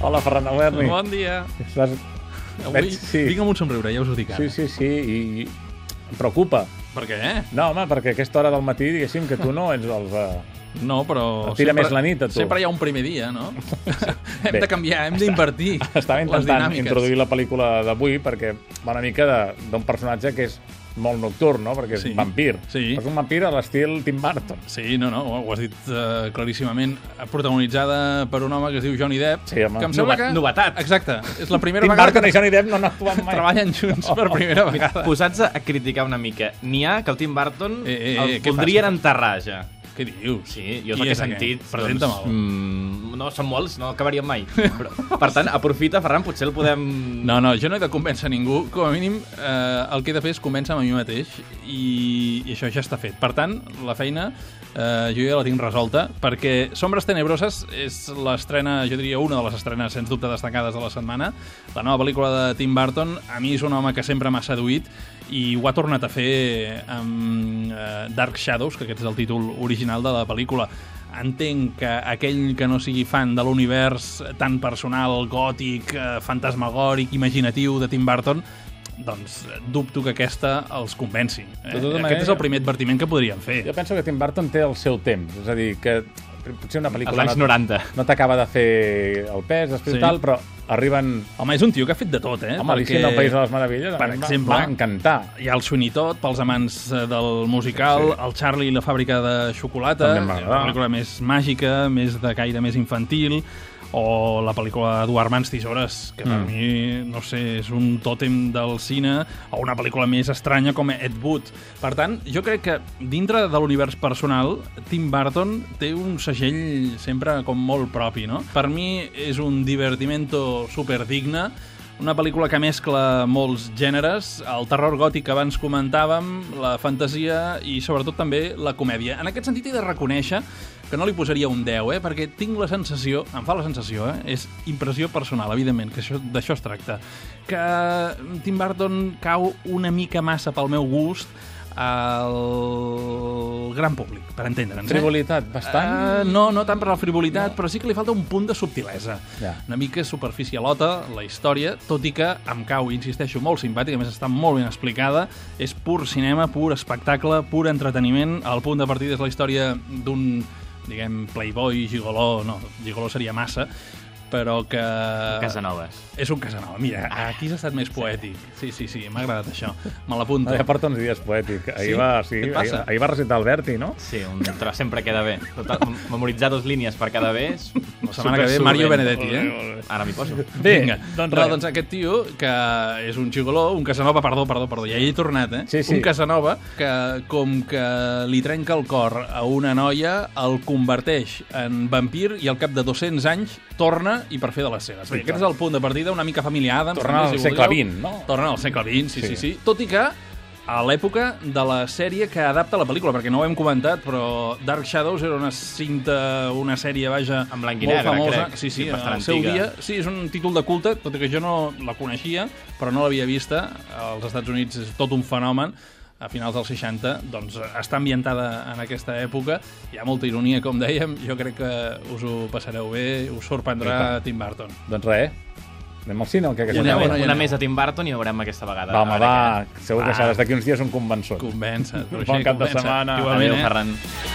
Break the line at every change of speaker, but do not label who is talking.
Hola, Ferran Alberni.
Bon dia.
Vas...
Avui
Veig- sí.
vinc amb un somriure, ja us ho dic ara.
Sí, sí, sí, i, i em preocupa.
Per què?
No, home, perquè a aquesta hora del matí, diguéssim, que tu no ets dels... Uh...
No, però...
Tira més la nit, a tu.
Sempre hi ha un primer dia, no? hem
Bé.
de canviar, hem d'invertir
Estava
les
intentant
dinàmiques.
introduir la pel·lícula d'avui perquè va una mica de- d'un personatge que és molt nocturn, no? Perquè és
Sí.
sí. vampir.
Sí.
És un vampir a l'estil Tim Burton.
Sí, no, no, ho has dit uh, claríssimament. Protagonitzada per un home que es diu Johnny Depp.
Sí, home.
Que em sembla
Nova-
que...
novetat.
Exacte. És la primera
Tim
vegada
Burton i Johnny Depp Oh, no han actuat
que
mai.
treballen junts per primera vegada.
Posats a, a criticar una mica, n'hi ha que el Tim Burton
Eh, eh, eh,
el
què
podrien
fas?
enterrar ja.
Què dius?
Sí, jo és
Qui
el que he
aquest?
sentit.
Presenta'm-el.
mm, no, són molts, no acabaríem mai. Però, per tant, aprofita, Ferran, potser el podem...
No, no, jo no he de convèncer ningú. Com a mínim, eh, el que he de fer és convèncer amb mi mateix i, i això ja està fet. Per tant, la feina eh, jo ja la tinc resolta perquè Sombres Tenebroses és l'estrena, jo diria, una de les estrenes, sens dubte, destacades de la setmana. La nova pel·lícula de Tim Burton, a mi és un home que sempre m'ha seduït i ho ha tornat a fer amb eh, Dark Shadows, que aquest és el títol original de la pel·lícula entenc que aquell que no sigui fan de l'univers tan personal, gòtic, eh, fantasmagòric, imaginatiu de Tim Burton, doncs eh, dubto que aquesta els convenci. Eh?
De tota manera-
Aquest és el primer advertiment que podríem fer.
Jo penso que Tim Burton té el seu temps. És a dir, que potser una
Als
pel·lícula
anys 90.
no t'acaba de fer el pes, després
Sí.
sí. tal, però arriben...
Home, és un tio que ha fet de tot, eh?
Home, Alicia en el País de les Meravelles a
per
mi em va-
exemple,
va encantar.
hi ha el Sweeney-Todd, pels amants eh, del musical, sí. el Charlie i la fàbrica de xocolata,
També em va
una
agradar.
pel·lícula més màgica, més de caire més infantil, o la pel·lícula d'Eduard Mans Tisores, que per mm. mi, no sé, és un tòtem del cine, o una pel·lícula més estranya com Ed Wood. Per tant, jo crec que dintre de l'univers personal, Tim Burton té un segell sempre com molt propi, no? Per mi és un divertimento superdigne, una pel·lícula que mescla molts gèneres, el terror gòtic que abans comentàvem, la fantasia i sobretot també la comèdia. En aquest sentit he de reconèixer que no li posaria un 10, eh? perquè tinc la sensació, em fa la sensació, eh? és impressió personal, evidentment, que això- d'això es tracta, que mm, Tim Burton cau una mica massa pel meu gust al gran públic, per entendre'ns. Eh?
Frivolitat, bastant.
Uh, no, no tant per la frivolitat, no. però sí que li falta un punt de subtilesa.
Ja.
Una mica superficialota, la història, tot i que em cau, insisteixo, molt simpàtica, a més està molt ben explicada, és pur cinema, pur espectacle, pur entreteniment, el punt de partida és la història d'un, diguem, playboy, gigoló, no, gigoló seria massa, però que... Eh.
Casanovas.
És un Casanova. Mira, aquí has estat més poètic. Sí, sí, sí, m'ha agradat això. Me
No,
l'apunto.
ja porta uns dies poètic. Ahir,
Sí?
va, sí,
Què et
ahir,
passa?
ahir va recitar Alberti, no?
Sí, un tros sempre queda bé. Total, memoritzar dues línies per cada bé és...
La setmana que ve, Mario Benedetti, eh?
Ara m'hi poso.
Bé,
Vinga,
doncs
doncs, no,
res.
doncs aquest tio, que és un xigoló, un Casanova, perdó, perdó, perdó, ja hi he tornat, eh?
Sí, sí.
Un Casanova que, com que li trenca el cor a una noia, el converteix en vampir i al cap de 200 anys torna i per fer de les seves. Bé, aquest és el punt de partida, una mica família Adams.
Torna
també,
al
si
segle
voleu.
XX, no?
Torna al segle XX, sí, sí, sí.
Sí.
sí. Tot i que a l'època de la sèrie que adapta la pel·lícula, perquè no ho hem comentat, però Dark Shadows era una cinta, una sèrie, vaja,
En blanc i
molt
negre,
famosa.
crec.
Sí, sí,
Sí,
en
bastant
el seu
antiga.
dia Sí, és un títol de culte, tot i que jo no la coneixia, però no l'havia vista. Als Estats Units és tot un fenomen a finals dels 60, doncs eh, està ambientada en aquesta època. Hi ha molta ironia, com dèiem. Jo crec que us ho passareu bé, us sorprendrà Tim Burton.
Doncs res, anem al cine o què? Que
Una,
Una bona,
una
ja.
més a Tim Burton i ho veurem aquesta vegada.
Va, home,
A veure
va,
què tal.
segur que
Va.
seràs d'aquí uns dies un convençut.
Convença't.
Bon cap de setmana.
Igualment,
Adéu,
eh?
Ferran.